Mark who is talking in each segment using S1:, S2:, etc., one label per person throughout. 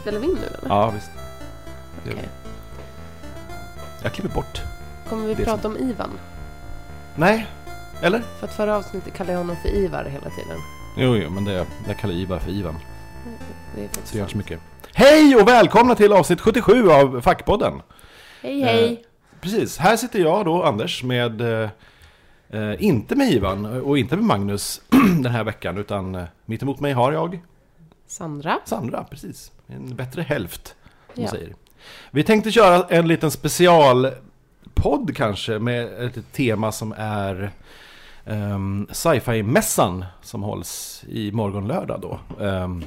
S1: Spelar vi in nu eller?
S2: Ja, visst. Det gör vi.
S1: Okej.
S2: Jag klipper bort.
S1: Kommer vi
S2: Det är
S1: prata om Ivan?
S2: Nej, eller?
S1: För att förra avsnittet kallade jag honom för Ivar hela tiden.
S2: Jo, jo, men det, jag kallar Ivar för Ivan.
S1: Det är faktiskt
S2: Så det gör inte så
S1: sant.
S2: mycket. Hej och välkomna till avsnitt 77 av Fackpodden.
S1: Hej hej!
S2: Precis, här sitter jag då, Anders, med... eh, Eh, inte med Ivan och inte med Magnus den här veckan, utan eh, mitt emot mig har jag
S1: Sandra.
S2: Sandra, precis. En bättre hälft, som
S1: Ja.
S2: säger. Vi tänkte köra en liten specialpodd kanske med ett tema som är ehm, sci-fi-mässan som hålls i morgon lördag då. ehm,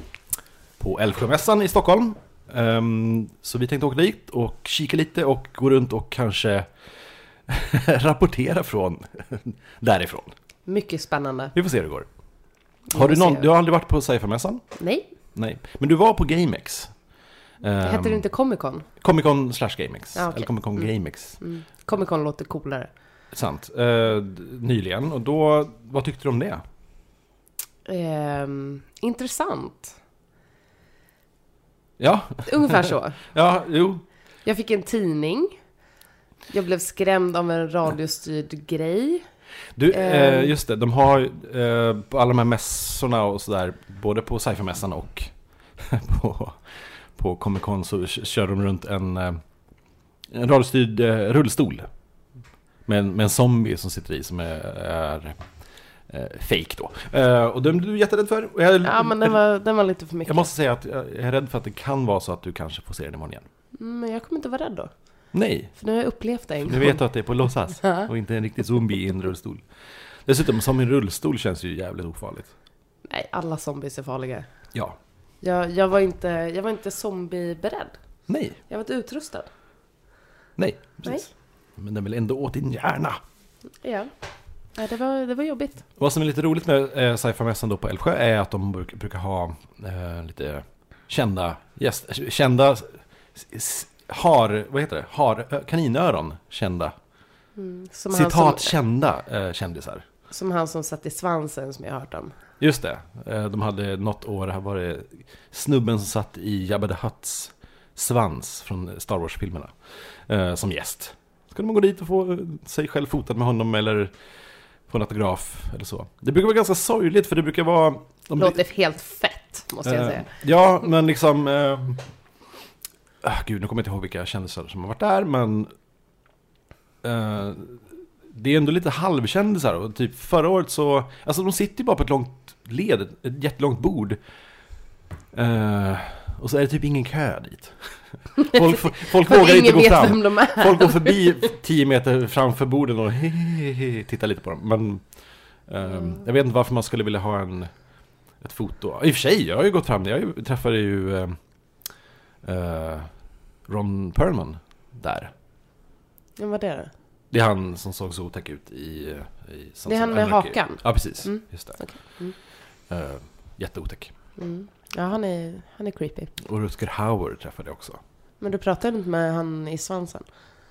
S2: på Älvsjömässan i Stockholm. Ehm, så vi tänkte åka dit och kika lite och gå runt och kanske rapportera från därifrån.
S1: Mycket spännande.
S2: Vi får se hur det går.
S1: Vi
S2: Har du,
S1: får
S2: någon,
S1: se.
S2: du har aldrig varit på sci-fi-mässan?
S1: Nej,
S2: Nej, men du var på GameX. Ehm.
S1: det hette det inte Comic Con?
S2: Comic Con slash GameX.
S1: Ja, okej.
S2: Eller Comic Con GameX.
S1: Mm. Comic Con låter coolare.
S2: Sant. Eh, d- nyligen. Och då, vad tyckte du om det?
S1: Ehm, intressant.
S2: Ja,
S1: Ungefär så.
S2: ja, jo.
S1: Jag fick en tidning. Jag blev skrämd av en radiostyrd grej.
S2: Du,
S1: Ehm.
S2: eh, just det, de har ju, eh, på alla de här mässorna och sådär, både på sci-fi-mässan och på, på Comic Con så k- kör de runt en, eh, en radiostyrd eh, rullstol. Med en, med en zombie som sitter i som är, är eh, fake då. Eh, och den blev du jätterädd för. Och jag-
S1: Ja, men den var, den var lite för
S2: Jag
S1: mycket.
S2: måste säga att jag är rädd för att det kan vara så att du kanske får se den imorgon igen.
S1: Mm, Men jag kommer inte vara rädd då.
S2: Nej,
S1: För nu har jag upplevt det en
S2: nu
S1: gång.
S2: vet du att det är på låtsas
S1: Ja.
S2: och inte en riktig zombie i en rullstol. Dessutom, som en rullstol känns ju jävligt ofarligt.
S1: Nej, alla zombies är farliga.
S2: Ja.
S1: Jag, jag, var inte, jag var inte zombieberedd.
S2: Nej,
S1: Jag var inte utrustad.
S2: nej, precis. Men den vill ändå åt din hjärna.
S1: Ja. Nej, det, var, det var jobbigt.
S2: Vad som är lite roligt med eh, sci-fi-mässan då på Älvsjö är att de bruk, brukar ha eh, lite kända gäster, kända s- s- har, vad heter det, har ö- kaninöron kända.
S1: Mm, Som Han
S2: Citat
S1: som,
S2: kända eh, kändisar.
S1: som han som satt i svansen som jag har hört om.
S2: Just det. Eh, De hade något år, här var det snubben som satt i Jabba the Hutts svans från Star Wars-filmerna eh, som gäst. Så kunde man gå dit och få eh, sig själv fotad med honom eller få en autograf eller så. Det brukar vara ganska sorgligt för det brukar vara... de-
S1: Låter helt fett, måste jag
S2: eh,
S1: säga.
S2: Ja, men liksom... Eh, ah, gud, nu kommer jag inte ihåg vilka kändisar som har varit där, men... Eh, det är ändå lite halvkändisar. Och typ förra året så... Alltså de sitter ju bara på ett långt led, ett- ett jättelångt bord. Eh, och så är det typ ingen kö dit. Folk, folk
S1: För att
S2: vågar inte
S1: ingen
S2: gå
S1: vet
S2: fram.
S1: vem de är.
S2: Folk går förbi 10 meter framför borden och tittar lite på dem. Men ehm, jag vet inte varför man skulle vilja ha en, ett foto. I och för sig, jag har ju gått fram. Jag har ju- träffade ju ehm, eh, Ron Perlman där.
S1: Ja, vad är det?
S2: Det är han som såg så otäck ut i... i Sons
S1: Det är
S2: of
S1: han med
S2: Anarchy.
S1: hakan.
S2: Ja, precis.
S1: Mm.
S2: Just det.
S1: Okej. Mm.
S2: Eh, jätteotäck.
S1: Mm. Ja, han är, han är creepy.
S2: Och Rutger Hauer träffade jag också.
S1: Men du pratade inte med han i svansen?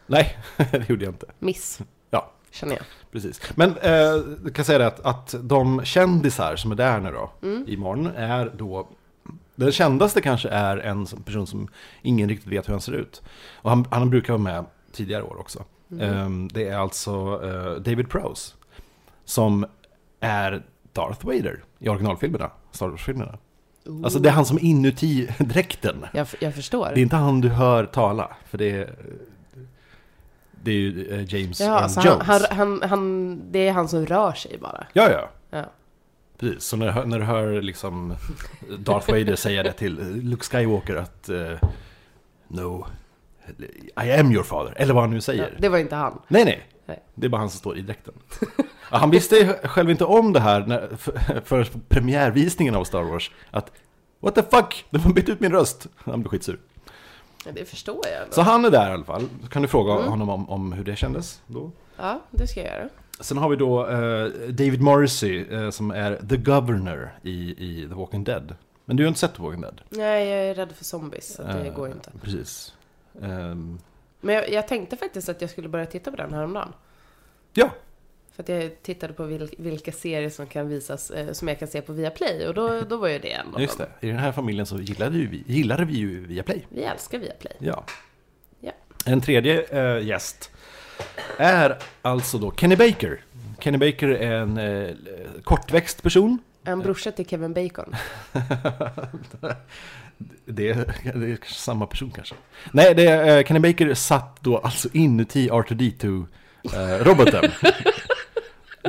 S2: Nej, det gjorde jag inte.
S1: Miss.
S2: Ja.
S1: Känner jag.
S2: Precis. Men eh, jag kan säga det att, att de kändisar som är där nu då,
S1: Mm.
S2: imorgon, är då... Den kändaste kanske är en som- person som ingen riktigt vet hur han ser ut. Och han, han brukar vara med tidigare år också.
S1: Mm.
S2: Eh, det är alltså eh, David Prowse, som är Darth Vader i originalfilmerna, Star Wars-filmerna. Alltså det är han som är inuti dräkten.
S1: Jag, f- jag förstår.
S2: Det är inte han du hör tala, för det är... Det är ju eh, James
S1: Ja,
S2: Earl
S1: alltså han,
S2: Jones.
S1: han, han, han, det är han som rör sig bara.
S2: Ja, ja.
S1: Ja.
S2: Precis, så när, du hör- när du hör liksom Darth Vader säga det till eh, Luke Skywalker att eh, No, I am your father, eller vad han nu
S1: Ja,
S2: säger.
S1: det var inte han.
S2: Nej, nej,
S1: Nej.
S2: det är bara han som står i dräkten. Ja, han visste ju själv inte om det här när, för, förrän på premiärvisningen av Star Wars. Att What the fuck, de har bytt ut min röst. Han blev skitsur.
S1: Ja, Det förstår jag. ändå.
S2: Så han är där i alla fall. Så kan du fråga
S1: Mm.
S2: honom om, om hur det kändes då?
S1: Ja, det ska jag göra.
S2: Sen har vi då eh, David Morrissey eh, som är The Governor i, i The Walking Dead. Men du har inte sett The Walking Dead?
S1: Nej, jag är rädd för zombies, så det
S2: Eh,
S1: går inte.
S2: Precis. Ehm,
S1: Men jag, jag tänkte faktiskt att jag skulle börja titta på den häromdagen.
S2: ja,
S1: För att jag tittade på vil- vilka serier som kan visas, eh, som jag kan se på Viaplay och då, då var ju det en av
S2: Just
S1: dem.
S2: det, i den här familjen så gillade ju vi, gillade vi ju Viaplay.
S1: Vi älskar Viaplay.
S2: Ja.
S1: Ja.
S2: En tredje eh, gäst är alltså då Kenny Baker. Kenny Baker är en eh, kortväxt person.
S1: En brorsa till Kevin Bacon.
S2: Det är, det är kanske samma person kanske. Nej, det är, eh, Kenny Baker satt då alltså inuti R2D2-roboten. eh,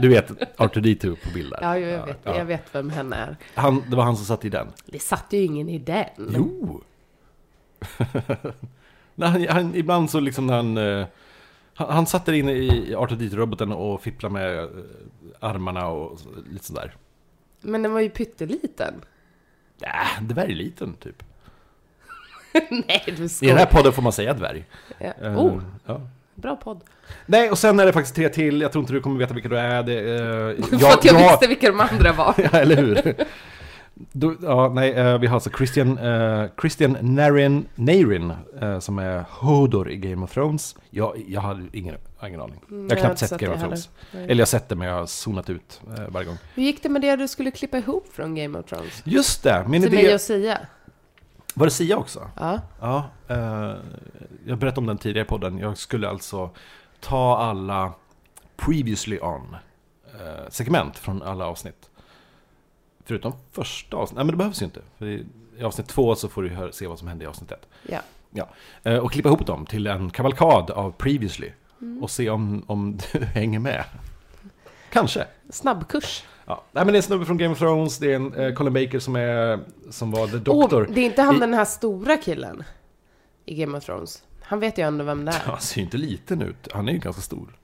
S2: du vet R2D2 på bild där.
S1: Ja, jo, jag vet,
S2: Ja.
S1: jag vet vem han är.
S2: Han, det var han som satt i den.
S1: Det satt ju ingen i den.
S2: Jo! när han, han, ibland så liksom när han... eh, Han, han satt där inne i Artodito-roboten och fipplade med eh, armarna och så- lite sådär.
S1: Men den var ju pytteliten.
S2: Äh, dvärgliten typ.
S1: Nej, du
S2: I den här
S1: skojar.
S2: podden får man säga dvärg.
S1: Ja.
S2: Eh,
S1: Oh,
S2: ja.
S1: bra podd.
S2: Nej, och sen är det faktiskt tre till. Jag tror inte du kommer veta vilka du är. Det, eh,
S1: För att jag visste vilka de andra var.
S2: ja, eller hur? Då, ja, nej, eh, vi har alltså Christian, eh, Christian Narin, Narin eh, som är Hodor i Game of Thrones. Jag, jag hade ingen, ingen aning.
S1: Mm, jag har
S2: jag har knappt
S1: inte
S2: sett
S1: sett
S2: Game
S1: det
S2: of Thrones.
S1: heller. Nej.
S2: Eller jag har sett det men jag har zonat ut eh, varje gång.
S1: Hur gick det med det du skulle klippa ihop från Game of Thrones?
S2: Just det, min
S1: Till
S2: idé...
S1: mig och Sia?
S2: Var det Sia också?
S1: Ja.
S2: Ja, eh, jag berättade om den tidigare i podden. Jag skulle alltså ta alla previously on eh, segment från alla avsnitt. Förutom första avsnittet. Nej men det behövs ju inte. För i i avsnitt två så får du hö- se vad som hände i avsnitt ett.
S1: ja.
S2: Ja. Eh, och klippa ihop dem till en kavalkad av previously. Och se om, om du hänger med. Kanske.
S1: Snabbkurs.
S2: Ja. Nej men det är en snubbe från Game of Thrones. Det är en eh, Colin Baker som, är, som var The Doctor.
S1: Åh, det är inte han
S2: I-
S1: den här stora killen i Game of Thrones. Han vet ju ändå vem det är.
S2: Han ser ju inte liten ut. Han är ju ganska stor.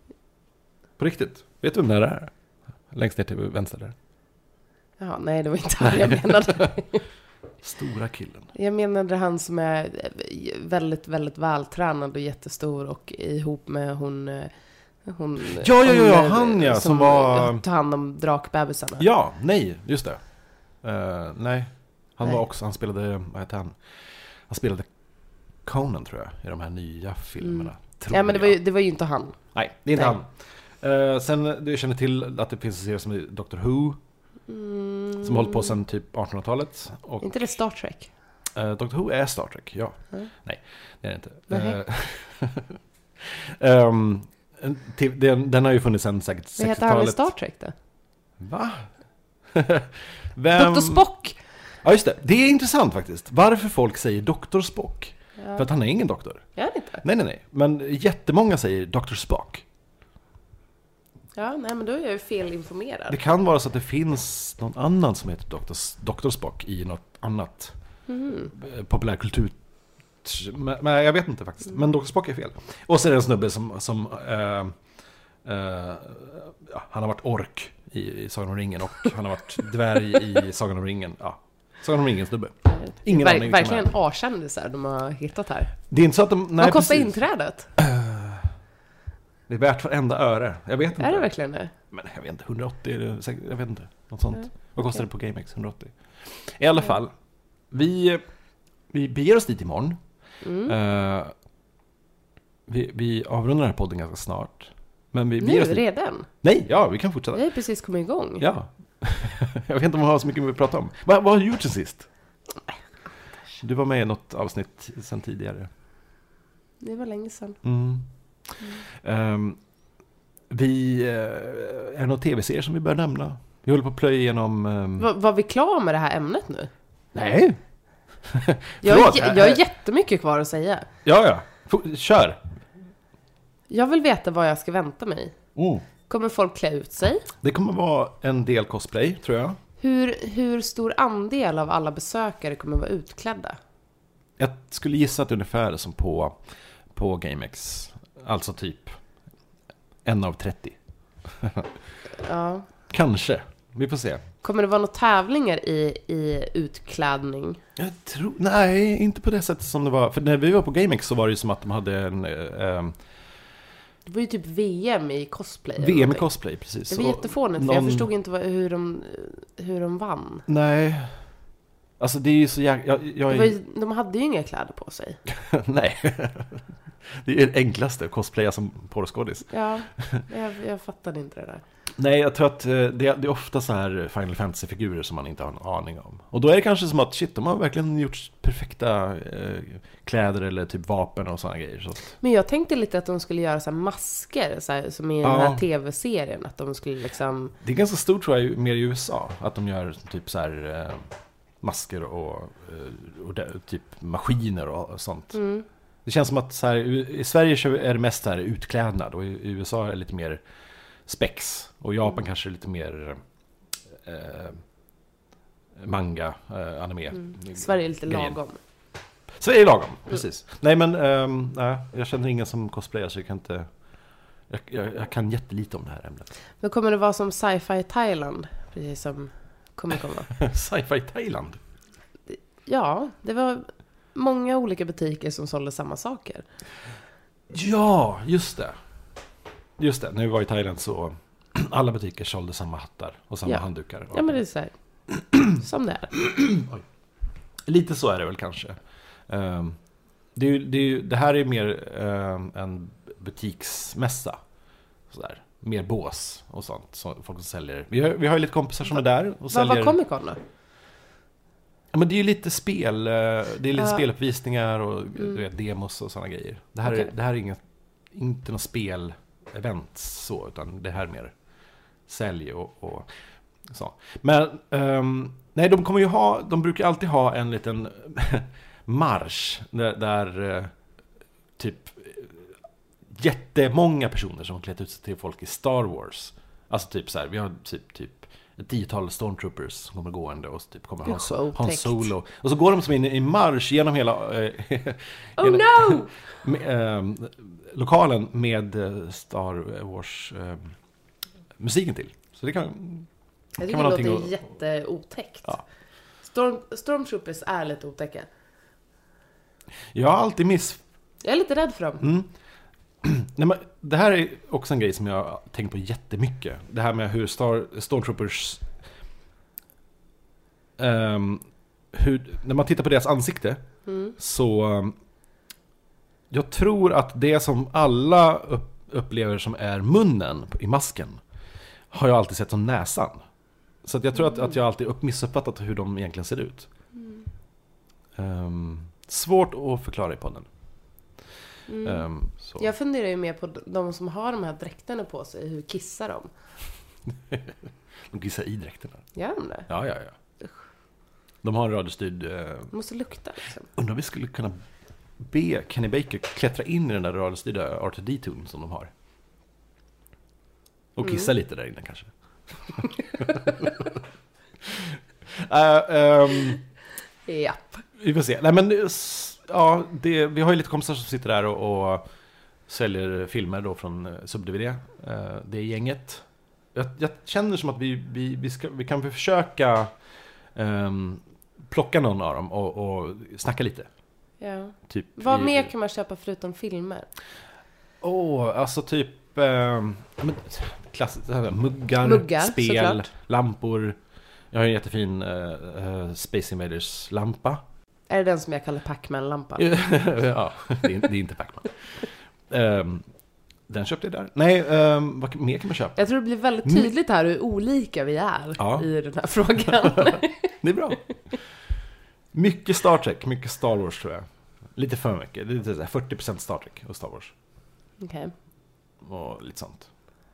S2: På riktigt. Vet du vem det här är? Längst ner till vänster där.
S1: Jaha, nej, det var inte han jag menade.
S2: Stora killen.
S1: Jag menade han som är eh, väldigt, väldigt vältränad och jättestor och ihop med hon... eh, hon
S2: Ja, ja, ja, ja,
S1: eh,
S2: han, ja, som var-
S1: Tar hand om drakbebisarna.
S2: Ja, nej, just det. Eh, nej, han
S1: Nej.
S2: var också, han spelade, vad hette han? Han spelade Conan tror jag, i de här nya filmerna. Tror
S1: Mm. ja men det var,
S2: jag.
S1: ju, det var ju inte han.
S2: Nej, det är inte
S1: Nej.
S2: han. Eh, sen, du känner till att det finns en serie som är Doctor Who,
S1: Mm,
S2: som har hållit på sedan typ 1800-talet. Och
S1: Inte det Star Trek?
S2: Eh, Doctor Who är Star Trek, ja.
S1: Mm.
S2: Nej, det är det inte.
S1: Nej.
S2: Eh, ehm, en till- den, den har ju funnits sedan säkert 60-talet.
S1: Vad heter han i Star Trek då?
S2: Va? Vem...
S1: Dr Spock!
S2: Ja, just det. Det är intressant faktiskt. Varför folk säger Dr. Spock.
S1: Ja.
S2: För att han är ingen doktor.
S1: Är han inte?
S2: Nej, nej, nej. Men jättemånga säger Dr. Spock.
S1: Ja, nej men då är jag ju
S2: Det
S1: felinformerad.
S2: kan vara så att det finns någon annan som heter Dr. S- Dr. Spock i något annat
S1: Mhm.
S2: eh, populärkultur. Men, men jag vet inte faktiskt. Men Dr. Spock är fel. Och så är det en snubbe som... som eh, eh, ja, han har varit ork i, i Sagan om ringen och han har varit dvärg i Sagan om ringen. Ja. Sagan om ringen-snubbe. Ingen aning
S1: Ver-
S2: vilka de
S1: verkligen
S2: är.
S1: A-kändisar de har hittat här.
S2: Det är inte så att de... Nej,
S1: Vad kostar
S2: precis.
S1: inträdet?
S2: Det är värt varenda öre. Jag vet inte.
S1: Är det verkligen det?
S2: Men jag vet inte, 180 eller säkert- jag vet inte. Något sånt.
S1: Mm.
S2: Vad kostar det på GameX? 180? I alla fall, vi, vi beger oss dit imorgon.
S1: Mm.
S2: Eh, vi, vi avrundar den här podden ganska snart. Men vi beger
S1: Nu
S2: oss dit.
S1: redan?
S2: Nej, ja, vi kan fortsätta.
S1: Vi har ju precis kommit igång.
S2: Ja. jag vet inte om vi har så mycket mer att prata om. Vad, vad har du gjort sen sist? Du var med i något avsnitt sen tidigare.
S1: Det var länge sedan.
S2: Mm. Ehm, vi, eh, är det någon tv-serie som vi bör nämna? Vi håller på att plöja igenom... ehm,
S1: Va- var vi klara med det här ämnet nu?
S2: Nej!
S1: Jag, har
S2: Förlåt,
S1: jä-
S2: eh,
S1: jag
S2: eh,
S1: har jättemycket kvar att säga.
S2: Ja, ja. F- kör!
S1: Jag vill veta vad jag ska vänta mig.
S2: Oh.
S1: Kommer folk klä ut sig?
S2: Det kommer vara en del cosplay, tror jag.
S1: Hur, hur stor andel av alla besökare kommer vara utklädda?
S2: Jag skulle gissa att det är ungefär som på, på GameX. Alltså typ en av 30.
S1: Ja.
S2: Kanske. Vi får se.
S1: Kommer det vara några tävlingar i, i utklädning?
S2: Jag tror... Nej, inte på det sättet som det var. För när vi var på GameX så var det ju som att de hade en... eh, ehm,
S1: Det var ju typ VM i cosplay. eller
S2: VM i
S1: någonting.
S2: cosplay, precis.
S1: Det var
S2: Så
S1: jättefånigt, för jag
S2: någon-
S1: förstod inte vad, hur, de, hur de vann.
S2: Nej. Alltså det är ju så jäkla... Jag, jag
S1: Det
S2: är...
S1: var ju, de hade ju inga kläder på sig.
S2: Nej. Det är det enklaste, att cosplaya som porrskådis.
S1: Ja, jag, jag fattade inte det där.
S2: Nej, jag tror att eh, det, det är ofta så här eh, Final Fantasy-figurer som man inte har en aning om. Och då är det kanske som att shit, de har verkligen gjort perfekta eh, kläder eller typ vapen och sådana grejer. Så att,
S1: Men jag tänkte lite att de skulle göra så här masker, så här, som i den
S2: Ja.
S1: här tv-serien. Att de skulle liksom...
S2: det är ganska stort tror jag, mer i USA, att de gör typ så här eh, masker och, eh, och det, typ maskiner och sånt.
S1: Mm.
S2: Det känns som att så här, i- i Sverige kör vi- är det mest så här utklädnad och i i USA är det lite mer spex. Och i Japan
S1: Mm.
S2: kanske är det lite mer eh, manga, eh, anime.
S1: Mm. Sverige är lite
S2: Grejen.
S1: lagom. Mm.
S2: Sverige är lagom, precis. Nej men, ehm, nej, jag känner ingen som cosplayar så jag kan inte... Jag, jag, jag kan jättelite om det här ämnet.
S1: Då kommer det vara som sci-fi Thailand, precis som kommer komma.
S2: Sci-fi Thailand.
S1: Ja, det var många olika butiker som sålde samma saker.
S2: Ja, just det. Just det, när vi var i Thailand så alla butiker sålde samma hattar och samma
S1: Ja.
S2: handdukar.
S1: Ja, men det är så här. Som det är.
S2: Lite så är det väl kanske. Ehm, det, är, ju- det, är, ju- det här är mer ehm, en butiksmässa. Sådär. Mer bås och sånt. Så folk som säljer. Vi har, vi har ju lite kompisar som är där och
S1: Vad
S2: säljer.
S1: var Comic Con då?
S2: Ja, men det är ju lite spel, eh, det är lite
S1: Ja. Mm.
S2: speluppvisningar och du vet, demos och sådana grejer. Det här,
S1: Okej.
S2: är, det här är inget, inte något spel-event så, utan det här är mer sälj och, och så. Men, ehm, nej, de kommer ju ha, de brukar alltid ha en liten marsch där, där eh, typ eh, jättemånga personer som har klätt ut sig till folk i Star Wars. Alltså typ så här, vi har typ, typ ett tiotal stormtroopers som kommer gående och typ kommer
S1: Det är
S2: ha
S1: så
S2: så- Han
S1: otäckt.
S2: Solo. Och så går de som in i marsch genom hela eh,
S1: Oh no!
S2: med, ehm, lokalen med eh, Star Wars eh, musiken till. Så det kan...
S1: Jag
S2: Kan
S1: tycker
S2: man
S1: det
S2: någonting
S1: låter
S2: att-
S1: jätteotäckt.
S2: Ja.
S1: Storm, stormtroopers är lite otäcka.
S2: Jag har alltid miss...
S1: Jag är lite rädd för dem.
S2: Mm. Nej, men det här är också en grej som jag har tänkt på jättemycket. Det här med hur Star, Stormtroopers... ehm, hur, när man tittar på deras ansikte
S1: Mm.
S2: Så um, jag tror att det som alla upp- upplever som är munnen i masken har jag alltid sett som näsan. Så att jag tror att, att jag alltid upp- missuppfattat hur de egentligen ser ut. Um, svårt att förklara i podden.
S1: mm.
S2: Um, så.
S1: Jag funderar ju mer på de som har de här dräkterna på sig, hur kissar de?
S2: De kissar i dräkterna.
S1: Gör de det?
S2: Ja, ja, ja. De har en radiostyrd... eh,
S1: De måste lukta liksom.
S2: undrar om vi skulle kunna be Kenny Baker klättra in i den där radiostyrda R2D2 som de har. Och kissa lite där inne kanske. Eh, ehm,
S1: Japp.
S2: vi får se. Nej, men, s- ja, det, vi har ju lite kompisar som sitter där och, och säljer filmer då från eh, SubDVD. Eh, det är gänget. Jag, jag känner som att vi, vi, vi, ska, vi kan försöka ehm, plocka någon av dem och, och snacka lite.
S1: Ja.
S2: Typ,
S1: Vad
S2: vi-
S1: mer kan man köpa förutom filmer?
S2: Åh, alltså typ... Eh, ja, men, klass, det här, muggar,
S1: Muggar,
S2: spel,
S1: såklart.
S2: lampor. Jag har en jättefin eh, eh, Space Invaders-lampa.
S1: Är det den som jag kallar Pacman-lampan?
S2: ja, det är, det är inte Pacman. Ehm, den köpte jag där. Nej, ehm, vad mer kan man köpa?
S1: Jag tror det blir väldigt tydligt här hur olika vi är
S2: Mm. Ja.
S1: i den här frågan.
S2: Det är bra. Mycket Star Trek, mycket Star Wars tror jag. Lite för mycket. Det är lite så här 40% Star Trek och Star Wars.
S1: Okej.
S2: och lite sånt.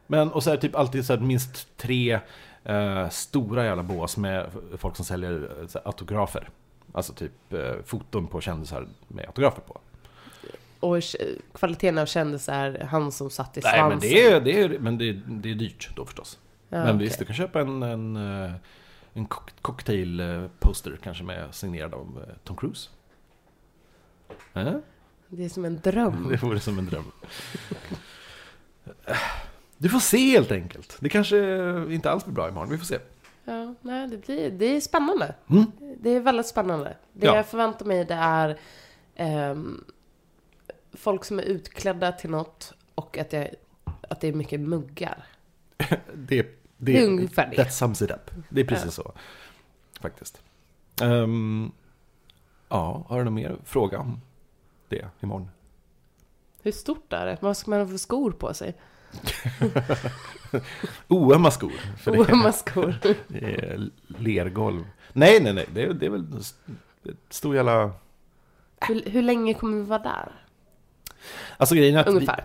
S2: Men och så är det typ alltid så här minst tre eh, stora jävla bås med f- folk som säljer eh, så här, autografer. Alltså typ eh, foton på kändisar med autografer på.
S1: Och k- kvaliteten av kändisar, han som satt i svansen.
S2: Nej men det är, det är, men det är, det är dyrt då förstås.
S1: Ja,
S2: men
S1: okej.
S2: visst, du kan köpa en, en, eh, en cock- cocktail eh, poster kanske med signerad av eh, Tom Cruise. Eh?
S1: Det är som en dröm.
S2: Mm, Det vore som en dröm. Du får se helt enkelt. Det kanske inte alls blir bra imorgon, vi får se.
S1: Ja, nej, det, blir, det är spännande.
S2: Mm.
S1: Det är väldigt spännande. Det
S2: Ja.
S1: jag förväntar mig det är ehm, folk som är utklädda till något och att, jag, att det är mycket muggar.
S2: Det,
S1: Det
S2: det,
S1: är ungefär det.
S2: That sums it up. Det är precis så. Faktiskt. Ehm, ja, har du någon mer fråga om det imorgon?
S1: Hur stort är det? Vad ska man ha för skor på sig?
S2: Oömma skor. För det
S1: Oömma skor.
S2: är lergolv. Nej, nej, nej. Det är, det är väl ett stor jävla...
S1: Hur, hur länge kommer vi vara där?
S2: Alltså grejen är att...
S1: Ungefär.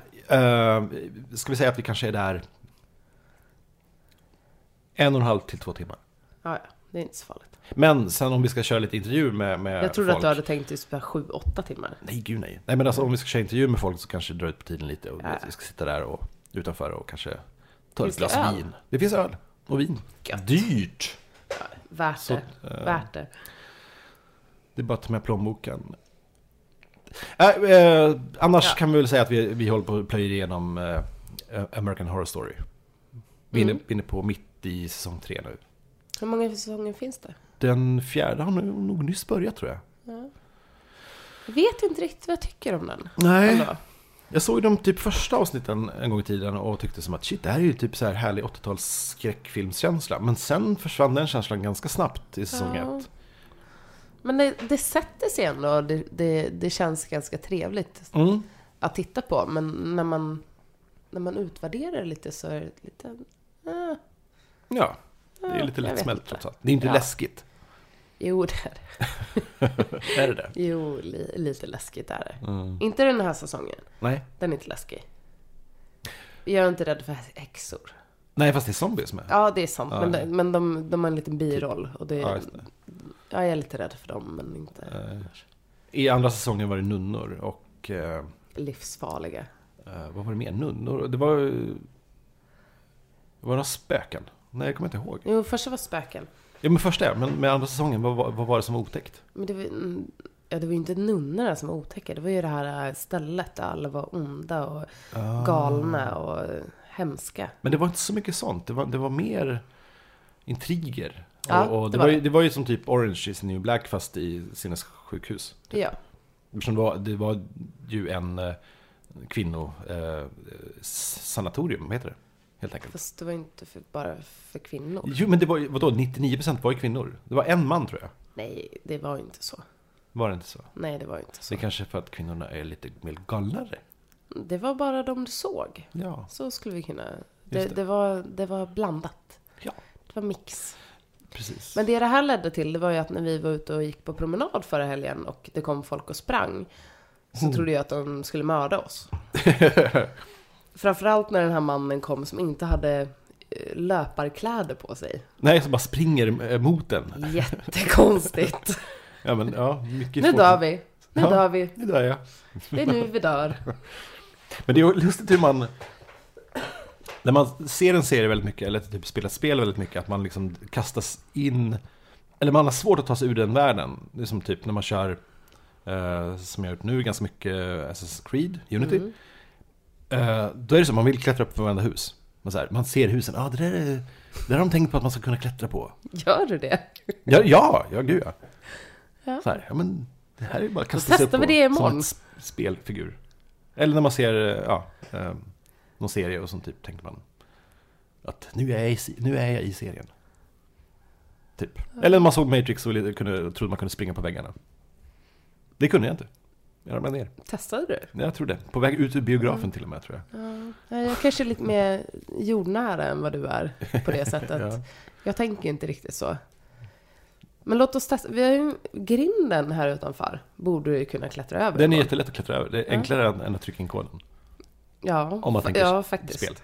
S2: Vi, eh, ska vi säga att vi kanske är där en och en halv till två timmar.
S1: Ja, ja. Det är inte så farligt.
S2: Men sen om vi ska köra lite intervju med, med
S1: Jag trodde
S2: folk.
S1: att du hade tänkt typ så här sju, åtta timmar.
S2: Nej, gud nej. Nej, men alltså om vi ska köra intervju med folk så kanske det drar ut på tiden lite. Och
S1: Ja.
S2: Vi ska sitta där och utanför och kanske ta
S1: Finns det
S2: ett glas
S1: öl?
S2: vin. Det finns öl och vin.
S1: Gött.
S2: Dyrt!
S1: Värt
S2: Så, eh,
S1: det. Värt det.
S2: Det är bara att ta med plånboken. Äh, eh, annars
S1: Ja.
S2: kan vi väl säga att vi, vi håller på att plöja igenom eh, American Horror Story. Vi är
S1: Mm.
S2: inne, inne på mitt i säsong tre nu.
S1: Hur många säsonger finns det?
S2: Den fjärde har nog nog nyss börjat tror jag.
S1: Jag vet inte riktigt vad jag tycker om den.
S2: Nej.
S1: Ändå.
S2: Jag såg ju de typ första avsnitten en gång i tiden och tyckte som att shit, det här är ju typ så här härlig 80-tals skräckfilmskänsla. Men sen försvann den känslan ganska snabbt i säsong
S1: Ja.
S2: ett.
S1: Men det, det sätter sig ändå och det, det, det känns ganska trevligt
S2: Mm.
S1: att titta på. Men när man, när man utvärderar det lite så är det lite... eh,
S2: Ja, det
S1: Ja,
S2: är lite
S1: jag vet
S2: lättsmält
S1: inte.
S2: trots allt. Det är inte
S1: Ja.
S2: läskigt.
S1: jo, det är det.
S2: Är det det?
S1: Jo, li, lite läskigt är det.
S2: Mm.
S1: Inte den här säsongen.
S2: Nej.
S1: Den är inte läskig. Jag är inte rädd för häxor.
S2: Nej, fast det är zombies med.
S1: Ja, det är sant.
S2: Ja,
S1: men
S2: ja.
S1: de, men de, de har en liten biroll. Och det,
S2: Ja,
S1: ja,
S2: just det.
S1: jag är lite rädd för dem, men inte annars.
S2: I andra säsongen var det nunnor och... Eh,
S1: livsfarliga.
S2: eh, vad var det mer? Nunnor? Det var... eh, Var det spöken? Nej, jag kommer inte ihåg.
S1: Jo, första var spöken.
S2: Ja, men första ja. Men med andra säsongen, vad, vad, vad var det som var otäckt?
S1: Men det var, mm, ja, det var ju inte nunnorna som var otäcka. Det var ju det här eh, stället där alla var onda och Ah.
S2: Ah.
S1: galna och eh, hemska.
S2: Men det var inte så mycket sånt. Det var, det var mer intriger.
S1: Ja,
S2: och, och
S1: det
S2: det, var
S1: var
S2: ju,
S1: det.
S2: det var ju som typ Orange is the new black fast i sinnessjukhus. Typ.
S1: Ja,
S2: Eftersom det var, det var ju en eh, kvinno... Eh, sanatorium, vad heter det? Helt enkelt.
S1: fast det var ju inte för, bara för kvinnor.
S2: Jo, men det var ju, vadå, 99% var ju kvinnor. Det var en man tror jag.
S1: Nej, det var ju inte så.
S2: Var det inte så?
S1: Nej, det var ju inte så.
S2: Det är kanske för att kvinnorna är lite mer galnare.
S1: Det var bara de du såg.
S2: Ja.
S1: Så skulle vi kunna... Det,
S2: det.
S1: det. var, det var blandat.
S2: Ja,
S1: Det var mix.
S2: precis.
S1: Men det det här ledde till, det var ju att när vi var ute och gick på promenad förra helgen och det kom folk och sprang, så trodde jag att de skulle mörda oss. Framförallt när den här mannen kom som inte hade eh, löparkläder på sig.
S2: Nej, som bara springer eh, mot den.
S1: Jättekonstigt.
S2: Ja, men ja, mycket
S1: nu
S2: folk-
S1: dör vi. Nu
S2: Ja.
S1: dör vi.
S2: Nu dör jag.
S1: Det är nu vi dör.
S2: Men det är ju lustigt hur man... När man ser en serie väldigt mycket, eller typ spelar ett spel väldigt mycket, att man liksom kastas in... Eller man har svårt att ta sig ur den världen. Det är som typ när man kör, eh, som jag har gjort nu, ganska mycket Assassin's Creed, Unity.
S1: Mm.
S2: Eh, då är det så, man vill klättra upp för varenda hus. Man, så här, man ser husen, ah, det, där är, det där har de tänkt på att man ska kunna klättra på.
S1: Gör du det?
S2: Ja, ja, ja gud ja.
S1: Ja.
S2: Så här, ja men det här är ju bara att kasta sig upp
S1: testar vi det
S2: på, som
S1: imorgon.
S2: ett sp- spelfigur. Eller när man ser, eh, ja, eh, någon serie och sånt typ, tänker man att nu är jag i, se- nu är jag i serien. Typ. Eller när man såg Matrix och lite kunde, trodde man kunde springa på väggarna. Det kunde jag inte. Jag ramlade ner.
S1: Testade du?
S2: Nej, Jag tror det. På väg ut ur
S1: Mm.
S2: biografen till och med tror jag.
S1: Ja, Jag kanske är lite mer jordnära än vad du är på det sättet.
S2: Ja.
S1: Jag tänker ju inte riktigt så. Men låt oss testa. Vi har ju grinden här utanför. Borde du ju kunna klättra över.
S2: Den är
S1: på.
S2: jättelätt att klättra över. Det är enklare än, än att trycka in koden.
S1: Ja,
S2: om man
S1: fa-
S2: tänker
S1: ja, faktiskt.
S2: Spel.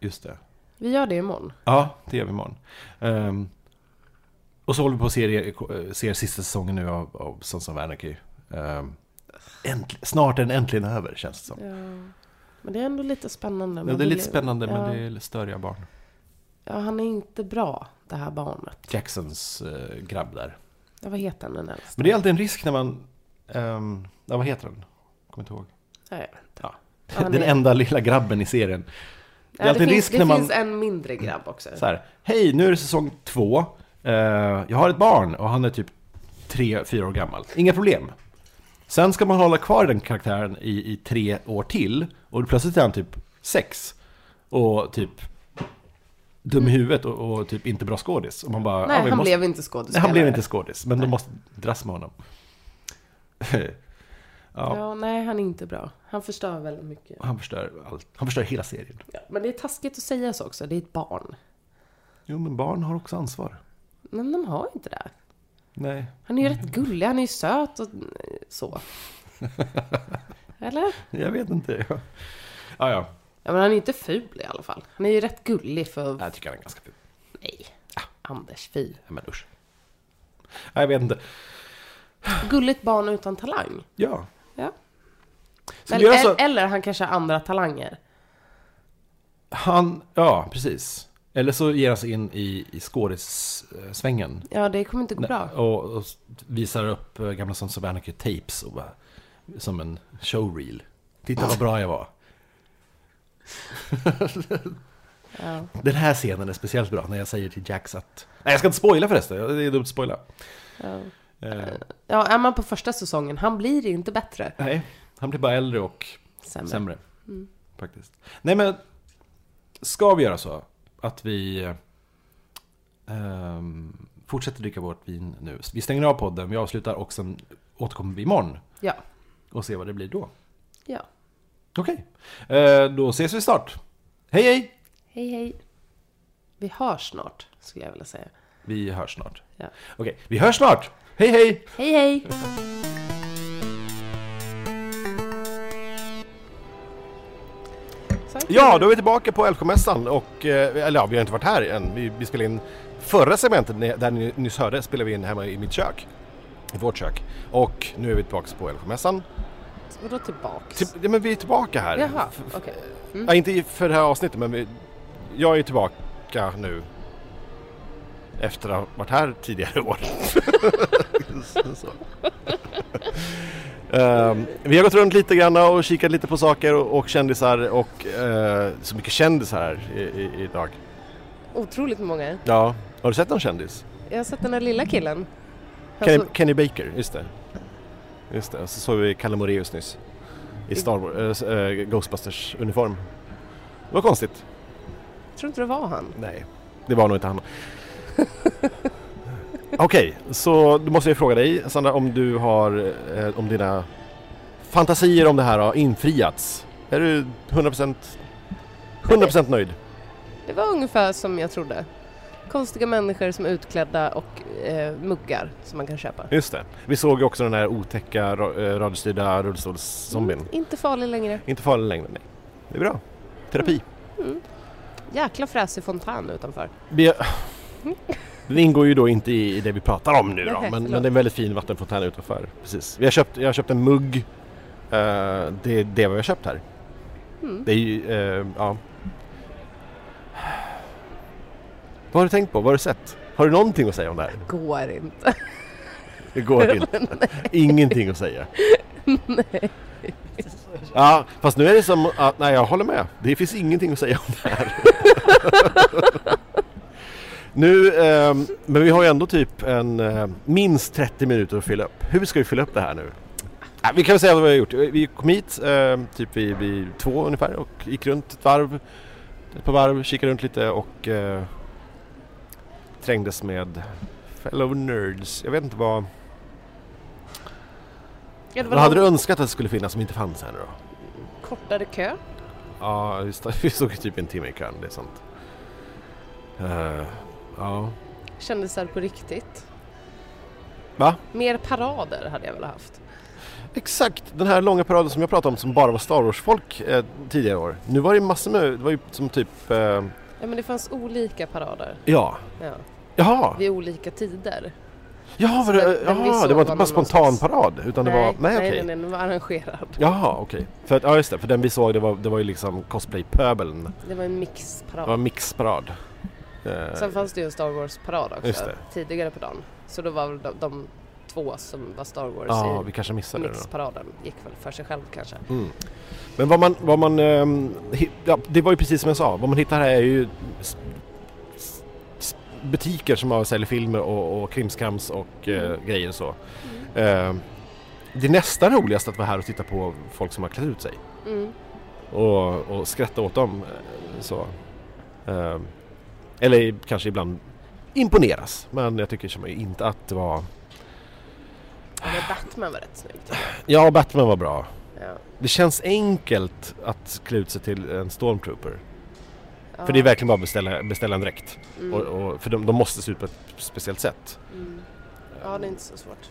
S2: Just det.
S1: Vi gör det imorgon.
S2: Ja, det gör vi imorgon. Ehm, och så håller vi på och ser, ser sista säsongen nu av, av Sons of Anarchy. Ehm, äntl- snart är den äntligen över, känns det som.
S1: Ja. Men det är ändå lite spännande.
S2: Ja,
S1: Man
S2: det är
S1: vill
S2: lite
S1: ju-
S2: spännande,
S1: ja.
S2: men det är störiga barn.
S1: Ja, han är inte bra, det här barnet.
S2: Jacksons eh, grabb där.
S1: Ja, vad heter han den äldsta?
S2: Men det är alltid en risk när man... ehm, ja, vad heter den? Kommer inte ihåg.
S1: Nej.
S2: Ja.
S1: Han är-
S2: Den enda lilla grabben i serien. Det är
S1: Ja, det
S2: alltid en
S1: finns,
S2: risk
S1: det
S2: när man...
S1: finns en mindre grabb också.
S2: Typ. Så här, hej, nu är det säsong två. Eh, jag har ett barn och han är typ tre, fyra år gammal. Inga problem. Sen ska man hålla kvar den karaktären i, i tre år till och plötsligt är han typ sex. Och typ dum i huvudet och, och typ inte bra skådis. Och man bara,
S1: Nej,
S2: ja, vi
S1: han
S2: måste-
S1: blev inte
S2: Nej,
S1: skådespelare.
S2: han blev inte skådis, men de måste dras med honom.
S1: Ja.
S3: Ja,
S1: nej han är inte bra. Han förstör väldigt mycket.
S3: han förstör allt. Han förstör hela serien.
S1: Ja, men det är taskigt att säga så också, det är ett barn.
S3: Jo, men barn har också ansvar.
S1: Men de har inte det.
S3: Nej.
S1: Han är ju rätt gullig, han är ju söt och eh, så. Eller?
S3: Jag vet inte. Ja, ja. ja.
S1: Ja, men han är inte ful i alla fall. Han är ju rätt gullig för...
S3: Jag tycker han är ganska ful.
S1: Nej. Anders, fy.
S3: Ja, Men usch. Nej, jag vet inte.
S1: Gulligt barn utan talang.
S3: Ja.
S1: Ja.
S3: Ska
S1: Men,
S3: vi göra så? alltså
S1: Eller han kanske har andra talanger.
S3: Han, ja, precis. Eller så ger han sig in i, i skådissvängen.
S1: Ja, det kommer inte gå bra.
S3: Och, och visar upp eh, gamla Sons of Anarchy tapes och bara, som en showreel. Titta vad bra jag var.
S1: Ja.
S3: Den här scenen är speciellt bra när jag säger till Jax att... Nej, jag ska inte spoila förresten. Det är dumt att spoila.
S1: Ja.
S3: Eh,
S1: ja, är man på första säsongen, han blir inte bättre.
S3: nej, han blir bara äldre och
S1: Sämre.
S3: sämre.
S1: Mm.
S3: Faktiskt. Nej, men ska vi göra så att vi ehm, fortsätter dricka vårt vin nu? Vi stänger av podden, vi avslutar och sen återkommer vi imorgon
S1: Ja.
S3: och ser vad det blir då.
S1: ja.
S3: Okej, Eh, då ses vi snart. Hej, hej!
S1: Hej, hej. Vi hörs snart, skulle jag vilja säga.
S3: Vi hörs snart.
S1: Ja.
S3: Okej, vi hörs snart! Hej, hej!
S1: Hej, hej! Så,
S2: Ja, då är vi tillbaka på Älvsjömässan och, eh, eller ja, vi har inte varit här än. Vi, vi spelade in förra segmentet ni- där ni nyss hörde spelade vi in hemma i mitt kök. I vårt kök. Och nu är vi tillbaka på Älvsjömässan.
S1: Och då tillbaks?
S2: Till, ja, men vi är tillbaka här.
S1: Jaha,
S2: Typ- F-
S1: okej. Mm.
S2: Ja, inte i- för det här avsnittet men vi, jag är tillbaka nu. Efter att ha varit här tidigare år. Så. Ehm, vi har gått runt lite grann och kikat lite på saker och, och kändisar och eh, så mycket kändisar här i, i, idag.
S1: Otroligt många.
S2: Ja. Har du sett någon kändis?
S1: Jag har sett den här lilla killen. Alltså, Han
S2: Kenny,
S1: såg-
S2: Kenny Baker, just det. Just det, och så såg vi Kalle Moraeus nyss. I Star Wars, eh, eh, Ghostbusters-uniform. Det var konstigt.
S1: tror inte det var han.
S2: Nej, det var nog inte han. Okej, så då måste jag fråga dig Sandra om du har, eh, om dina fantasier om det här har infriats. Är du 100%, 100 nöjd?
S1: Det var ungefär som jag trodde. Konstiga människor som är utklädda och eh, muggar som man kan köpa.
S2: Just det. Vi såg ju också den här otäcka ra- eh, radiostyrda rullstolszombien.
S1: Mm, inte farlig längre.
S2: Inte farlig längre, nej. Det är bra. Terapi.
S1: Jäkla fräsig fontän utanför.
S2: Vi... Den ingår ju då inte i det vi pratar om nu då,
S1: Nej,
S2: men, men
S1: förlåt.
S2: det är en väldigt fin vattenfontän utanför. Precis. Vi har köpt, jag har köpt en mugg. Eh, det är det vi har köpt här.
S1: Mm.
S2: Det är ju, eh, ja. Vad har du tänkt på? Vad har du sett? Har du någonting att säga om det här?
S1: Går inte.
S2: Det går inte. Ingenting att säga. Ja, fast nu är det som att, nej jag håller med. Det finns ingenting att säga om det här. nu, ehm, men vi har ju ändå typ en, eh, minst 30 minuter att fylla upp. Hur ska vi fylla upp det här nu? Ja, vi kan väl säga vad vi har gjort. Vi kom hit ehm, typ vid, vid två ungefär och gick runt ett varv. Ett par varv, kikade runt lite och eh, trängdes med fellow nerds. Jag vet inte vad...
S1: Ja, det
S2: Vad hade
S1: någon
S2: du önskat att det skulle finnas som inte fanns här nu då?
S1: kortare kö.
S2: Ja, vi, st- vi stod ju typ en timme i kön, det är sant. Eh, ja.
S1: Kändisar på riktigt.
S2: Va?
S1: Mer parader hade jag väl haft.
S2: Exakt, den här långa paraden som jag pratade om som bara var Star Wars-folk eh, tidigare år. Nu var det massor med, det var ju som typ, eh,
S1: Ja, men det fanns olika parader.
S2: ja.
S1: Ja,
S2: Jaha,
S1: vid olika tider.
S2: jaha, var
S1: Så
S2: det,
S1: den- den vi
S2: jaha,
S1: såg
S2: det var inte
S1: var
S2: bara
S1: någon
S2: spontan
S1: slags-
S2: parad utan det var, nej okej.
S1: nej, nej, den var arrangerad.
S2: Jaha, okej. För att, ja just det, för den vi såg det var, det var ju liksom cosplay-pöbeln.
S1: Det var en
S2: Det
S1: mixparad.
S2: var en mixparad. Eh,
S1: Sen fanns det ju en Star Wars-parad
S2: Just
S1: också
S2: det.
S1: tidigare på dagen. Så då var väl de, de två som var Star Wars
S2: ja, vi
S1: i
S2: kanske missade det då.
S1: mixparaden gick väl för sig själv kanske.
S2: Mm. Men vad man, vad man ehm, hi- ja, det var ju precis som jag sa, vad man hittar här är ju s- s- s- butiker som har säljer filmer och, och krimskrams och eh, grejer och så. Eh, det är nästan roligast att vara här och titta på folk som har klätt ut sig
S1: Mm.
S2: och, och skratta åt dem. eh, Så. Eh, eller kanske ibland imponeras, men jag tycker som inte att det var...
S1: Ja, Det Batman var rätt snygg. tycker
S2: Ja, Batman var bra.
S1: jag. Ja.
S2: Det känns enkelt att klä ut sig till en stormtrooper.
S1: Ja.
S2: För det är verkligen bara att beställa, beställa en dräkt.
S1: Mm.
S2: Och, och, för de, de måste se ut på ett speciellt sätt.
S1: Mm. Ja, det är inte så svårt.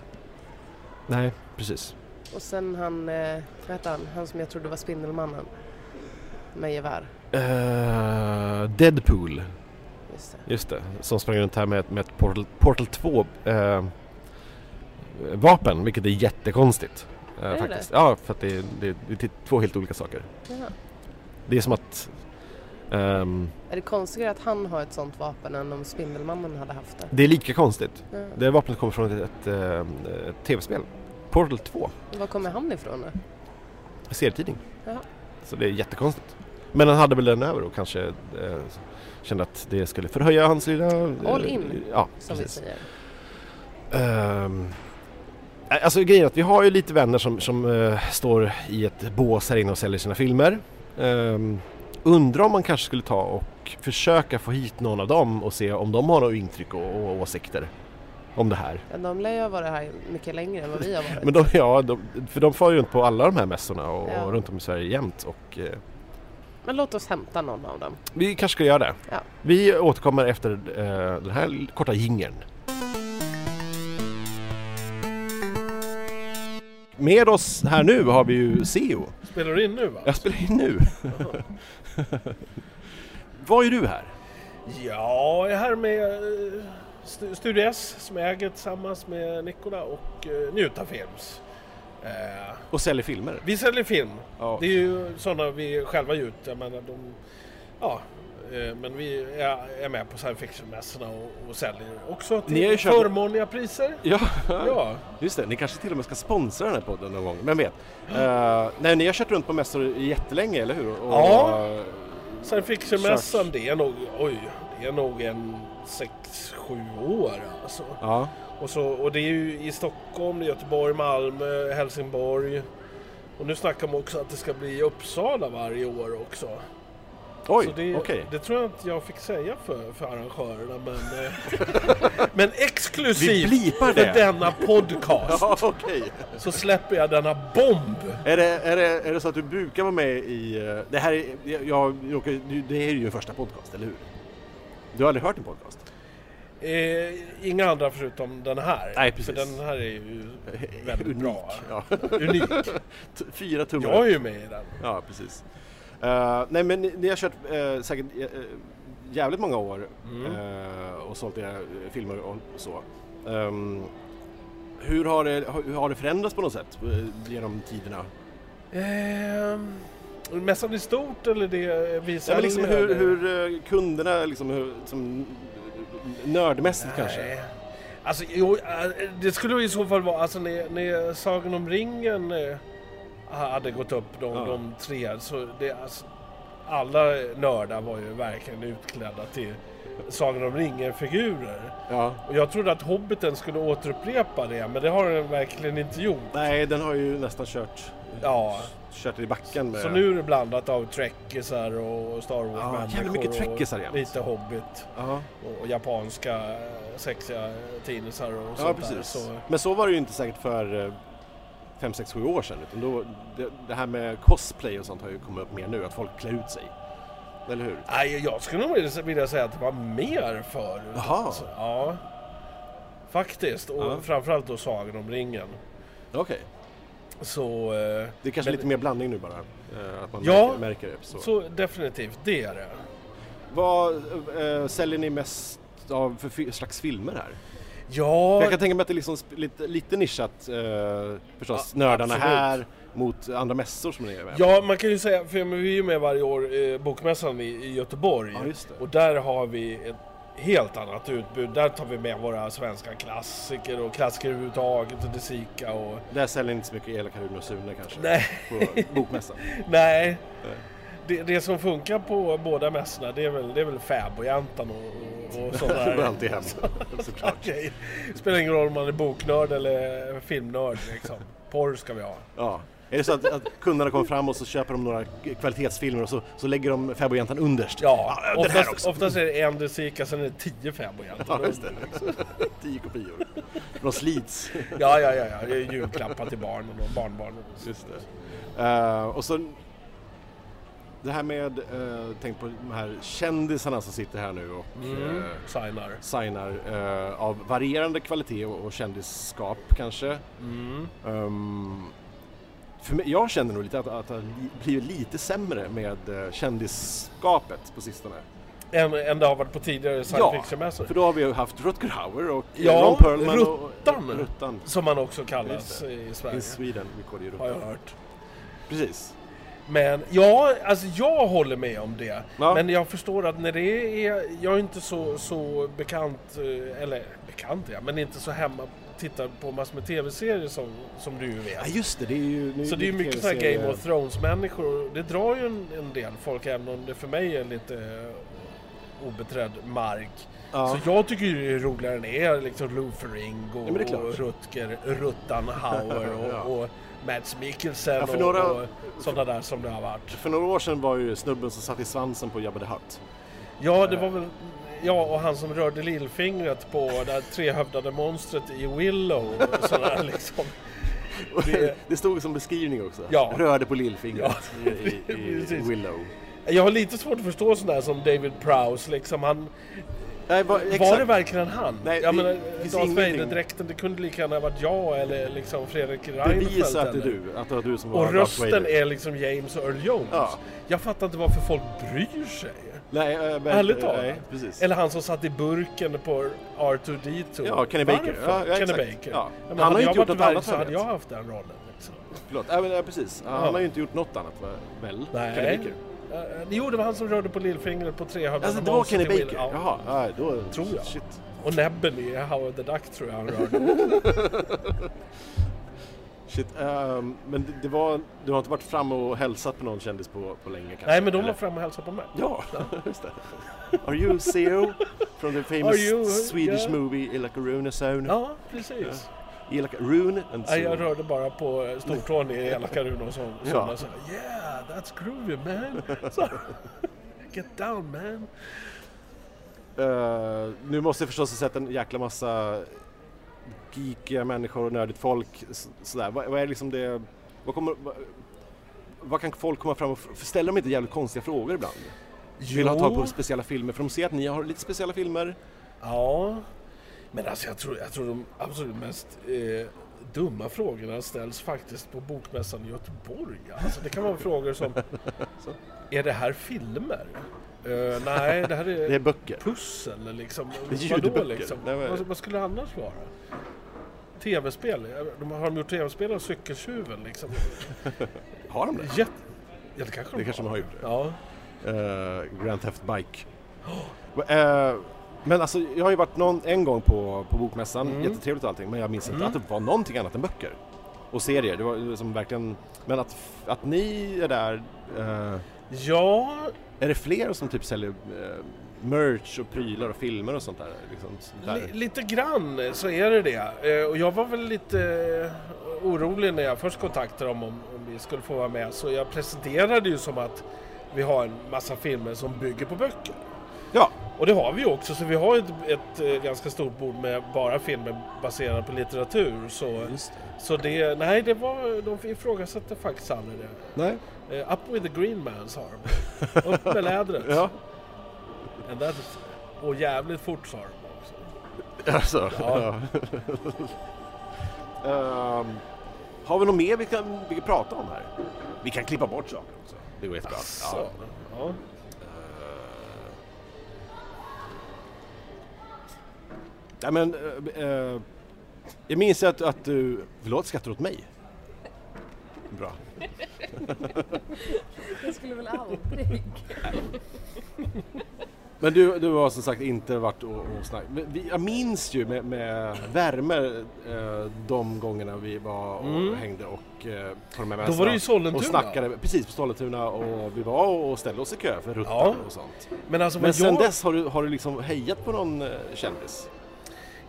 S2: Nej, precis.
S1: Och sen han, eh, vad hette han, han som jag trodde var Spindelmannen. Med gevär.
S2: Eh, Deadpool,
S1: Just det.
S2: just det. Som sprang runt här med, ett- med ett Portal, Portal 2-vapen. vilket är jättekonstigt. eh,
S1: det
S2: faktiskt. Ja, för att det är, det, är, det är två helt olika saker.
S1: Jaha.
S2: Det är som att... ehm,
S1: Är det konstigare att han har ett sånt vapen än om Spindelmannen hade haft det?
S2: det är lika konstigt.
S1: Ja.
S2: Det här vapnet kommer från ett, ett, ehm, ett tv-spel. Portal 2.
S1: Var kommer han ifrån då?
S2: serietidning.
S1: Jaha.
S2: Så det är jättekonstigt. Men han hade väl den över och kanske eh, kände att det skulle förhöja hans lilla... eh,
S1: All in,
S2: Ja,
S1: Som vi
S2: precis.
S1: säger.
S2: Ehm, alltså grejen är att vi har ju lite vänner som, som eh, står i ett bås här inne och säljer sina filmer. Ehm, undrar om man kanske skulle ta och försöka få hit någon av dem och se om de har några intryck och, och åsikter om det här.
S1: Ja, de lär ju ha varit här mycket längre än vad vi har varit.
S2: Men de, ja, de, för de far ju runt på alla de här mässorna och,
S1: Ja.
S2: och runt om i Sverige jämt och eh,
S1: Men låt oss hämta någon av dem.
S2: Vi kanske ska göra det.
S1: Ja.
S2: Vi återkommer efter eh, den här korta jingeln. Med oss här nu har vi ju Seo.
S4: Spelar du in nu va?
S2: Jag spelar in nu. Vad är du här?
S5: Ja, jag är här med eh, Stu- Studio S som jag äger tillsammans med Nikola och eh, Njuta Films. Eh,
S2: Och säljer filmer?
S5: vi säljer film.
S2: Ja.
S5: Det är ju sådana vi själva ger ut. Jag menar, de, ja, eh, men vi är, är med på science fiction-mässorna och, och säljer också
S2: Ni har ju
S5: till
S2: köpt-
S5: förmånliga priser.
S2: Ja,
S5: Ja,
S2: just det. Ni kanske till och med ska sponsra den här podden någon gång, vem vet? Eh, nej, ni har kört runt på mässor jättelänge, eller hur? Och,
S5: Ja. science fiction-mässan det är nog, oj, det är nog en sex, sju år alltså.
S2: Ja.
S5: Och, så, och det är ju i Stockholm, det är Göteborg, Malmö, Helsingborg. Och nu snackar man också att det ska bli i Uppsala varje år också.
S2: Oj,
S5: Så
S2: okej.
S5: det, det tror jag inte jag fick säga för, för arrangörerna men... eh, men
S2: Vi
S5: exklusivt
S2: blipar
S5: för
S2: det!
S5: denna podcast
S2: Ja, okej.
S5: så släpper jag denna bomb!
S2: Är det, är, det, är det så att du brukar vara med i... eh, Det här är, jag, jag, råkar- du- det här är ju din första podcast, eller hur? Du har aldrig hört en podcast?
S5: Eh, inga andra förutom den här.
S2: Nej, precis. Eh,
S5: För den här är ju väldigt
S2: Unik,
S5: bra.
S2: Ja.
S5: Unik.
S2: T- Fyra tummar
S5: Jag är
S2: upp.
S5: ju med i den.
S2: Ja, precis. Eh, nej, men ni, ni har kört eh, säkert eh, jävligt många år
S5: Mm.
S2: eh, och sålt era eh, filmer och, och så. Ehm, hur, har det, har- hur har det förändrats på något sätt eh, genom tiderna?
S5: Ehm, mässan i stort eller det visar
S2: Ja, men liksom hur, hur eh, kunderna, liksom, hur, som, nördmässigt kanske?
S5: Nej. Alltså, jo, eh, det skulle i så fall vara, alltså när, när Sagan om ringen eh, hade gått upp, de,
S2: Ja.
S5: de tre, så det, alltså, alla nördar var ju verkligen utklädda till Sagan om ringen-figurer.
S2: Ja.
S5: Och jag trodde att Hobbiten skulle återupprepa det, men det har den verkligen inte gjort.
S2: Nej, den har ju nästan kört,
S5: Ja.
S2: kört i backen med...
S5: Så nu är det blandat av trekkisar och Star Wars-människor.
S2: jävligt mycket
S5: och
S2: trekkisar igen.
S5: Lite Hobbit.
S2: Ja,
S5: och, och japanska eh, sexiga tidningar och
S2: ja
S5: sånt där.
S2: precis.
S5: Så,
S2: Men så var det ju inte säkert för eh, 5, 6, 7 år sedan. Utan då, det, det här med cosplay och sånt har ju kommit upp mer nu, att folk klär ut sig. Eller hur?
S5: nej, jag skulle nog vilja- vilja säga att det var mer förut.
S2: Jaha.
S5: Alltså, ja. Faktiskt, och
S2: Ja.
S5: framförallt då Sagan om ringen.
S2: Okej.
S5: Så, eh,
S2: Det är kanske
S5: Men-
S2: lite mer blandning nu bara. eh, Att man
S5: Ja.
S2: märker, märker det. Så.
S5: så definitivt, det är det.
S2: Vad eh, säljer ni mest av för fi- slags filmer här?
S5: Ja,
S2: Jag kan tänka mig att det är liksom sp- lite, lite nischat eh, förstås,
S5: Ja,
S2: nördarna
S5: absolut.
S2: här mot andra mässor som ni är med på.
S5: ja, man kan ju säga, för vi är ju med varje år eh, Bokmässan i, i Göteborg.
S2: Ja, just det.
S5: Och där har vi ett helt annat utbud. Där tar vi med våra svenska klassiker och klassiker överhuvudtaget och Desika och
S2: Där säljer ni inte så mycket elaka Rune och Sune kanske?
S5: Nej.
S2: På bokmässan?
S5: Nej.
S2: Nej.
S5: Det, det som funkar på båda mässorna det är väl, det är väl fäbodjäntan och, och, och sådana
S2: Det går
S5: där
S2: alltid hem, såklart.
S5: grejer. Spelar ingen roll om man är boknörd eller filmnörd liksom. Porr ska vi ha.
S2: Ja. Är det så att, att kunderna kommer fram och så köper de några kvalitetsfilmer och så, så lägger de fäbodjäntan underst?
S5: Ja,
S2: den här
S5: oftast,
S2: också.
S5: oftast är det en Desika, sen är det tio fäbodjäntor.
S2: Ja, just det. Tio kopior. De slits.
S5: Ja, ja, ja, ja. julklappar till barnen och barnbarnen. och så.
S2: Just det. Eh, och så det här med, eh, tänk på de här kändisarna som sitter här nu och
S5: Mm.
S2: eh,
S5: Signar.
S2: signar eh, av varierande kvalitet och, och kändisskap kanske. Mm. Ehm, för mig, jag känner nog lite att, att det har li- blivit lite sämre med eh, kändisskapet på sistone.
S5: Än, än det har varit på tidigare science
S2: Ja,
S5: fiction-mässor.
S2: För då har vi ju haft Rutger Hauer och
S5: Ja,
S2: Ron Perlman
S5: Ruttan.
S2: och Ruttan.
S5: Som man också kallas
S2: Just det.
S5: i
S2: In
S5: Sverige.
S2: Sweden, vi kallar det ju
S5: Har jag
S2: Ruttan.
S5: hört.
S2: Precis.
S5: Men ja, alltså jag håller med om det.
S2: Ja.
S5: Men jag förstår att när det är... Jag är inte så, så bekant, eh, eller bekant ja, men inte så hemma tittar på massor med tv-serier som, som du ju
S2: Ja,
S5: vet.
S2: just det, det är ju... nu
S5: Så det är ju mycket sådana här
S2: tv-serier.
S5: Game of Thrones-människor. Det drar ju en, en del folk, även om det för mig är lite eh, obeträdd mark.
S2: Ja.
S5: Så jag tycker ju det är roligare än er, liksom Lufering och
S2: Ja, men det är klart.
S5: Rutger, Ruttan Hauer och,
S2: Ja.
S5: och Mats Mikkelsen
S2: Ja, för några-
S5: och, och sådana där som det har varit.
S2: För några år sedan var ju snubben som satt i svansen på Jabba the Hutt.
S5: Ja, det var väl... Ja, och han som rörde lillfingret på det här trehövdade monstret i Willow och sådär liksom.
S2: Och
S5: Det-
S2: Det, stod som beskrivning också.
S5: Ja.
S2: Rörde på lillfingret i, i, i
S5: precis.
S2: Willow.
S5: Jag har lite svårt att förstå sådana här som David Prowse liksom. Han,
S2: Nej, va,
S5: Var det verkligen han?
S2: Nej,
S5: jag
S2: det
S5: menar,
S2: finns
S5: Darth
S2: ingenting.
S5: Vader-dräkten, det kunde lika gärna varit jag eller liksom Fredrik Reinfeldt.
S2: Bevisa att det är
S5: eller-
S2: du, att det var du som var
S5: Och
S2: Darth
S5: rösten
S2: Vader.
S5: är liksom James Earl Jones.
S2: Ja.
S5: Jag fattar inte varför folk bryr sig.
S2: Nej, eh, men,
S5: Ärligt
S2: eh,
S5: talat.
S2: nej, precis.
S5: Eller han som satt i burken på R2D2.
S2: Ja, Kenny Baker.
S5: Varför?
S2: Ja, ja,
S5: Kenny
S2: exakt.
S5: Baker.
S2: Ja. Han
S5: men
S2: har
S5: hade
S2: ju
S5: jag
S2: inte gjort
S5: varit
S2: något
S5: värd
S2: annat,
S5: så
S2: vad jag
S5: hade
S2: vet.
S5: jag haft den rollen. Liksom.
S2: Förlåt, ja, men, ja, precis. Han
S5: Ja.
S2: har ju inte gjort något annat va? väl?
S5: Nej.
S2: Kenny Baker.
S5: Eh, Jo, det var han som rörde på lillfingret på trehörnan.
S2: Alltså
S5: och
S2: det var
S5: monstret
S2: Kenny
S5: i
S2: Baker?
S5: Will- ja.
S2: Jaha, ja, då...
S5: Tror jag.
S2: Shit.
S5: Och näbben i Howard the Duck tror jag han rörde.
S2: Shit. ehm, men det, det var... Du har inte varit framme och hälsat på någon kändis på, på länge kanske?
S5: Nej, men de var
S2: eller?
S5: framme och hälsade på mig.
S2: Ja, just det. Are you E Zero from the famous
S5: Are you-
S2: Swedish
S5: yeah.
S2: movie Ila Rune Zone?
S5: Ja, precis.
S2: Ila Rune E and
S5: Nej, jag
S2: Zone.
S5: rörde bara på eh, stortån i elaka runor och så.
S2: Ja.
S5: Ja. Så, yeah, that's groovy man. Så, Get down man.
S2: Eh, nu måste jag förstås ha sett en jäkla massa geekiga människor och nördigt folk. s- Sådär. Vad, vad är liksom det... Vad, kommer, vad, vad kan folk komma fram och... f- Ställer de inte jävligt konstiga frågor ibland? Vill ha tag på speciella filmer? För de ser att ni har lite speciella filmer.
S5: Ja. Men alltså jag tror, jag tror de absolut mest eh, dumma frågorna ställs faktiskt på Bokmässan i Göteborg. Alltså det kan vara frågor som... Är det här filmer? Eh, nej, det här är...
S2: Det är böcker.
S5: pussel liksom.
S2: Det är
S5: Vadå
S2: ljudböcker.
S5: liksom?
S2: Nej, vad är
S5: vad,
S2: det?
S5: vad skulle det annars vara? Tv-spel? eh, De har de gjort tv-spel av cykeltjuven liksom?
S2: Har de det?
S5: Jätte... Ja, det kanske de
S2: Det kanske de har gjort.
S5: Ja.
S2: eh, Grand Theft Bike. Eh, men alltså, jag har ju varit någon, en gång på, på bokmässan, jättetrevligt och allting, men jag minns inte att det var någonting annat än böcker. Och serier, det var det var som verkligen... Men att, f- att ni är där, eh,
S5: Ja,
S2: är det fler som typ säljer eh, merch och prylar och filmer och sånt där? Liksom, sånt där?
S5: li- lite grann så är det det. Eh, Och jag var väl lite eh, orolig när jag först kontaktade dem om, om vi skulle få vara med. Så jag presenterade ju som att vi har en massa filmer som bygger på böcker.
S2: Ja,
S5: Och det har vi ju också, så vi har ett, ett eh, ganska stort bord med bara filmer baserade på litteratur. Så,
S2: just
S5: så det, nej, det var, de ifrågasatte faktiskt aldrig det.
S2: det. Nej.
S5: Eh, up with the green man sa de. Upp med lädret.
S2: Ja.
S5: And that is, och jävligt fort sa de också.
S2: Alltså, ja.
S5: Ja.
S2: Ehm, har vi något mer vi kan, vi kan prata om här? Vi kan klippa bort saker också. Det går jättebra.
S5: Så,
S2: Ja.
S5: ja.
S2: Eh, Ja, men, eh, eh, jag minns att, att du... Förlåt, skrattar du åt mig? Bra.
S1: Jag skulle väl aldrig.
S2: Men du, du har som sagt inte varit och, och snackat. Men vi- Jag minns ju med, med värme eh, de gångerna vi var och hängde och eh, på de här
S5: Mm. Då var det ju Sollentuna.
S2: Och snackade, precis, på Sollentuna och vi var och ställde oss i kö för rutan
S5: Ja.
S2: och sånt.
S5: Men alltså
S2: Men
S5: vad
S2: sen
S5: jag...
S2: dess har du, har du liksom hejat på någon eh, kändis?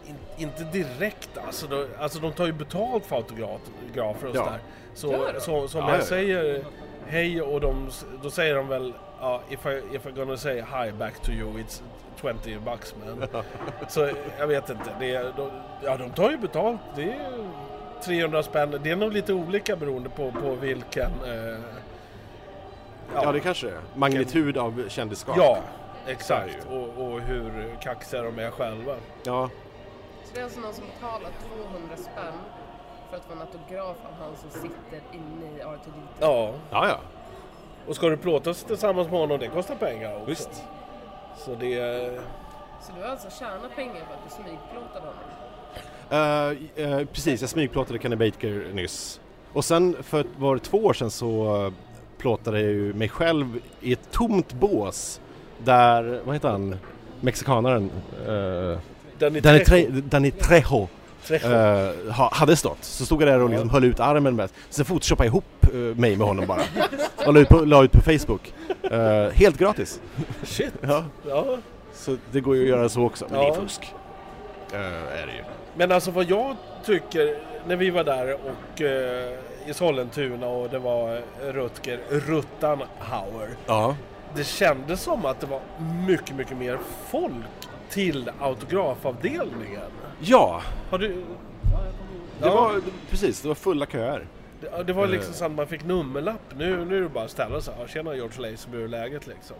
S5: In, inte direkt alltså. De, alltså de tar ju betalt för autografer och
S2: Ja.
S5: sådär. Så,
S1: Gör de?
S5: så, som
S2: Ja,
S5: jag
S2: ja, ja.
S5: säger hej och de, s- då säger de väl ja, if, I, if I'm gonna say hi back to you it's 20 bucks man. Så jag vet inte, det är, de, ja de tar ju betalt. Det är 300 spänn. Det är nog lite olika beroende på, på vilken... Eh,
S2: Ja, det kanske det är. Magnitud av kändisskap.
S5: Ja, exakt. Och, och hur kaxiga de är själva.
S2: ja.
S1: Så det är alltså någon som betalar 200 spänn för att få en autograf av han som sitter inne i R2D2.
S5: Ja,
S2: Ja, ja.
S5: och ska du plåtas tillsammans med honom, det kostar pengar också.
S2: Visst.
S5: Så det...
S1: Så du har alltså tjänat pengar på att du smygplåtade honom?
S2: Eh, eh, precis, jag smygplåtade Kenny Baker nyss. Och sen för ett- var det två år sedan så eh, plåtade jag ju mig själv i ett tomt bås där, vad heter han, mexikanaren eh,
S5: Den
S2: Danny,
S5: är tre-
S2: Tre, Danny Trejo
S5: tre-
S2: eh, ha, hade stått. Så stod jag där och liksom höll ut armen med. Sen photoshoppade jag ihop eh, mig med honom bara. Och la ut på, la ut på Facebook. Eh, helt gratis.
S5: Shit!
S2: Ja.
S5: Ja.
S2: Så det går ju att göra så också. Men det
S5: Ja.
S2: är fusk. Eh, är det ju.
S5: Men alltså vad jag tycker, när vi var där och eh, i Sollentuna och det var eh, Rutger Ruttanhauer.
S2: Ja.
S5: Det kändes som att det var mycket, mycket mer folk till autografavdelningen.
S2: Ja,
S5: Har du...
S2: det var precis. Det var fulla köer.
S5: Det, ja,
S2: Eh.
S5: det var liksom så att man fick nummerlapp. Nu, nu är det bara att ställa sig. Ja, Tjena George Lazy, hur är läget liksom?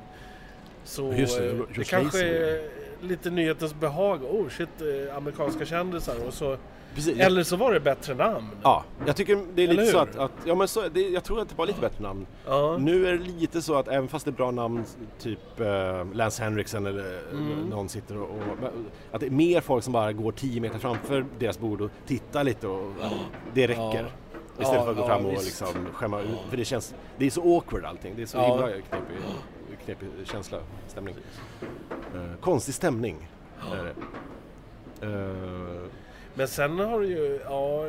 S5: Så
S2: Just det,
S5: eh,
S2: George
S5: det kanske
S2: Lazenby.
S5: är lite nyhetens behag. Oh shit, eh,
S2: Mm.
S5: amerikanska kändisar. Och så,
S2: Precis.
S5: eller så var det bättre namn.
S2: Ja, jag tycker det är
S5: Eller
S2: lite så
S5: hur?
S2: att, att ja, men så, det, jag tror att det var lite bättre namn.
S5: Ja.
S2: Nu är det lite så att även fast det är bra namn, typ eh, Lance Henriksen eller eh,
S5: Mm.
S2: någon sitter och, och att det är mer folk som bara går 10 meter framför deras bord och tittar lite och ja, det räcker. Istället
S5: Ja,
S2: för att gå
S5: ja,
S2: fram och
S5: visst.
S2: liksom skämma ut, för det känns, det är så awkward allting, det är så
S5: Ja.
S2: himla knepig, knepig känsla, stämning. Eh, konstig stämning. är det. Eh,
S5: Men sen har du ju, ja,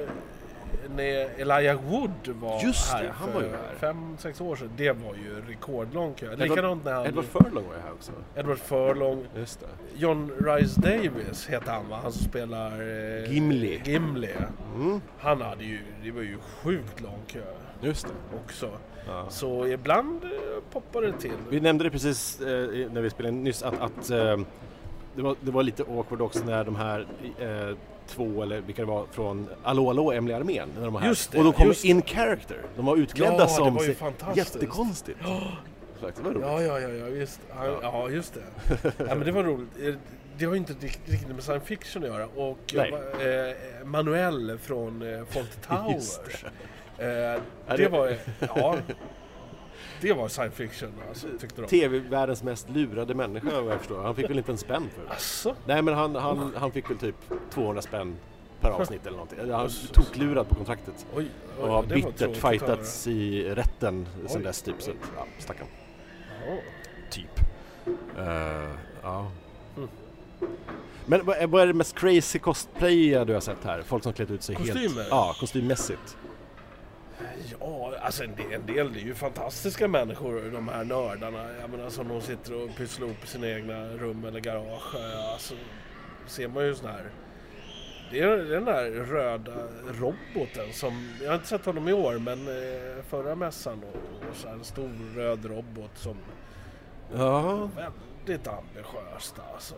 S5: när Elijah Wood var
S2: Just det,
S5: här
S2: han
S5: för
S2: var ju här.
S5: fem, sex år sedan. Det var ju rekordlång kö.
S2: Edward-
S5: Likadant när han,
S2: Edward
S5: Edward,
S2: Furlong var ju här också.
S5: Furlong,
S2: Just det.
S5: John Rhys Davis heter han va? Han som spelar eh,
S2: Gimli. Mm.
S5: Gimli. Han hade ju, det var ju sjukt lång kö
S2: Just det.
S5: också. Så ibland eh, poppar det till.
S2: Vi nämnde det precis eh, i- när vi spelade in nyss att, att eh, det, var, det var lite awkward också när de här eh, två, eller vilka det var, från Allo Allo Emily Armén. När de var här.
S5: Just det,
S2: och de kom
S5: just
S2: in character. De var utklädda
S5: Ja, det
S2: som
S5: var ju
S2: sig-
S5: fantastiskt.
S2: jättekonstigt. Faktiskt, det var roligt.
S5: Ja, ja, ja, ja, visst. Ja, ja just det. Ja, men det var roligt. Eh, Det har ju inte rikt- riktigt med science fiction att göra. Och
S2: Nej.
S5: eh, Manuel från eh, Fawlty Towers.
S2: Just
S5: Eh,
S2: Ja,
S5: det
S2: det-
S5: var, ja. Det var science fiction, alltså, tyckte de.
S2: TV-världens mest lurade människa vad jag förstår. Han fick väl inte en spänn för det.
S5: Alltså,
S2: Nej men han, han, han fick väl typ 200 spänn per avsnitt eller någonting. Eller Han tog lurad på kontraktet.
S5: oj, oj,
S2: Och har
S5: det var
S2: bittert
S5: tråkigt att höra.
S2: fightats i rätten sen
S5: Oj,
S2: dess typ. Så,
S5: oj.
S2: ja, stackarn.
S5: Ja.
S2: Typ. Eh, ja. Men vad är, vad är det mest crazy cosplayer du har sett här? Folk som klätt ut sig helt...
S5: Kostymer?
S2: Ja, kostymmässigt.
S5: Ja, alltså en del, en del det är ju fantastiska människor, de här nördarna. Jag menar som de sitter och pysslar upp i sina egna rum eller garage. Eh, Alltså, ser man ju sån här... Det är den där röda roboten som... Jag har inte sett honom i år, men eh, förra mässan då. Och så här en stor röd robot som...
S2: Ja.
S5: Väldigt ambitiöst alltså.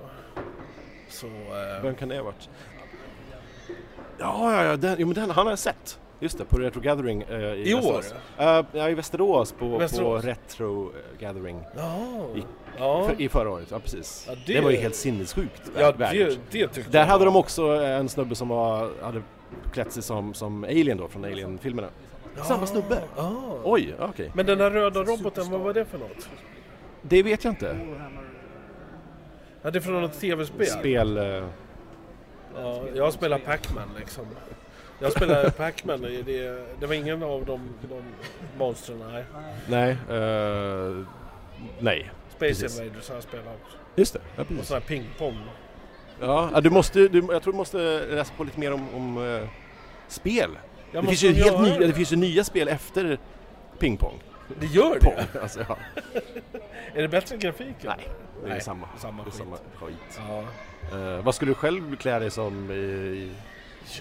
S5: Så... Eh,
S2: Vem kan det ha varit? Ja, ja, ja, den, jo, men den, han har jag sett. Just det, på Retro Gathering eh, i
S5: I år?
S2: Västerås. Eh, ja, i Västerås på,
S5: Västerås.
S2: på Retro eh, Gathering.
S5: ja.
S2: I-
S5: Ja,
S2: För, I förra året, ja precis.
S5: Ja,
S2: det...
S5: det-
S2: var ju helt sinnessjukt.
S5: ja
S2: vä-
S5: det, det tyckte
S2: Där
S5: jag
S2: hade
S5: var-
S2: de också en snubbe som var, hade klätt sig som, som Alien då, från Alien-filmerna. Samma snubbe?
S5: Ja.
S2: Oj, okej.
S5: Men
S2: Eh,
S5: den här röda roboten, vad var det för något?
S2: Det vet jag inte.
S5: Ja, det är från något tv-spel.
S2: Spel... eh,
S5: Ja, jag spelar Pac-Man liksom. Jag spelar Pac-Man, i det, det var ingen av de, de monstren. Nej.
S2: nej. eh, nej.
S5: Space
S2: Precis.
S5: Invaders har jag spelat också.
S2: Just det. Ja,
S5: Och
S2: precis.
S5: sån här ping-pong.
S2: Ja, ja, du måste, ju- du, jag tror du måste läsa på lite mer om, om eh, spel.
S5: Jag
S2: det, finns
S5: måste
S2: ju helt
S5: göra
S2: nya, det. finns ju nya spel efter pingpong.
S5: Det gör
S2: Pong.
S5: det?
S2: Alltså, ja.
S5: Är det bättre grafik? eller?
S2: Nej, det är
S5: Nej,
S2: samma.
S5: samma
S2: det är
S5: skit.
S2: samma skit.
S5: Ja.
S2: Eh, vad skulle du själv klä dig som i, i,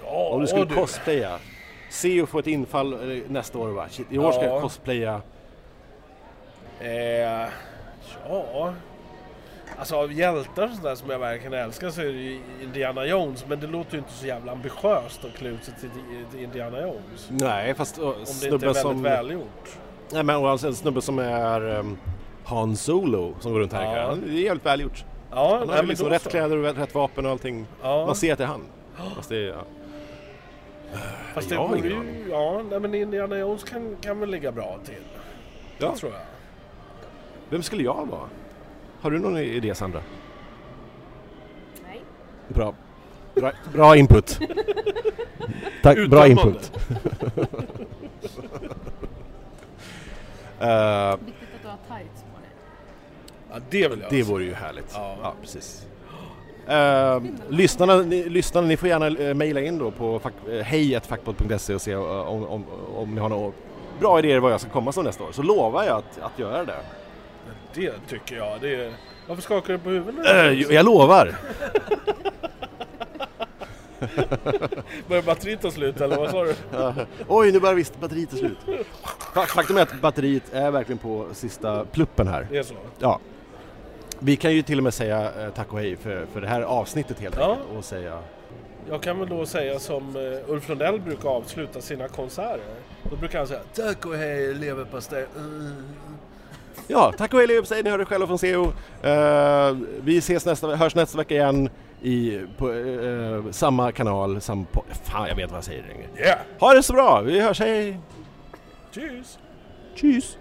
S5: ja
S2: om du skulle cosplaya? Se och få ett infall eh, nästa år och bara shit, i år ska
S5: Ja.
S2: jag cosplaya
S5: Eh, ja... Alltså av hjältar och sådär som jag verkligen älskar så är det ju Indiana Jones. Men det låter ju inte så jävla ambitiöst att klä ut sig till, till Indiana Jones.
S2: Nej, fast eh,
S5: Om det inte
S2: snubben
S5: är väldigt
S2: som...
S5: välgjort.
S2: Nej, men och alltså, en snubbe som är um, Han Solo som går runt här. i
S5: Ja.
S2: karaktären. Det är jävligt välgjort.
S5: Ja,
S2: Han
S5: nej,
S2: har ju
S5: men
S2: liksom
S5: då
S2: rätt
S5: så.
S2: kläder och rätt vapen och allting.
S5: Ja.
S2: Man ser att det är han. Fast det är, ja.
S5: Fast det
S2: Jag har
S5: vore
S2: ingen
S5: ju... Ja, nej, men Indiana Jones kan, kan väl ligga bra till.
S2: Ja.
S5: Tror jag.
S2: Vem skulle jag vara? Har du någon idé Sandra?
S1: Nej.
S2: Bra. Bra, bra input. Tack, bra
S5: Uttömmande.
S2: input. Eh,
S1: Viktigt att du har tights på dig.
S5: Ja, det vill jag
S2: det
S5: se.
S2: vore ju härligt.
S5: Ja.
S2: precis. Eh, lyssnarna, ni, lyssnarna, ni får gärna eh, mejla in då på fack, eh, hejatfackpodd.se och se eh, om, om, om ni har några bra idéer vad jag ska komma som nästa år. Så lovar jag att, att göra det.
S5: Det tycker jag. Det är... Varför skakar du på huvudet?
S2: Eh,
S5: nu?
S2: jo, jag lovar!
S5: Börjar batteriet ta slut eller vad sa du?
S2: Oj, nu börjar visst batteriet ta slut. Fa- Faktum är att batteriet är verkligen på sista pluppen här.
S5: Det är så?
S2: Ja. Vi kan ju till och med säga eh, tack och hej för, för det här avsnittet helt
S5: Ja.
S2: enkelt. Och säga
S5: Jag kan väl då säga som eh, Ulf Lundell brukar avsluta sina konserter. Då brukar han säga Tack och hej leverpastej. Mm.
S2: ja, tack och hej leverpastej, ni hörde själva från CO. Eh, vi ses nästa, hörs nästa vecka igen i, på eh, samma kanal, samma po- Fan, jag vet vad jag säger längre.
S5: Yeah!
S2: Ha det så bra, vi hörs, hej!
S5: Tschüss!
S2: Tjus!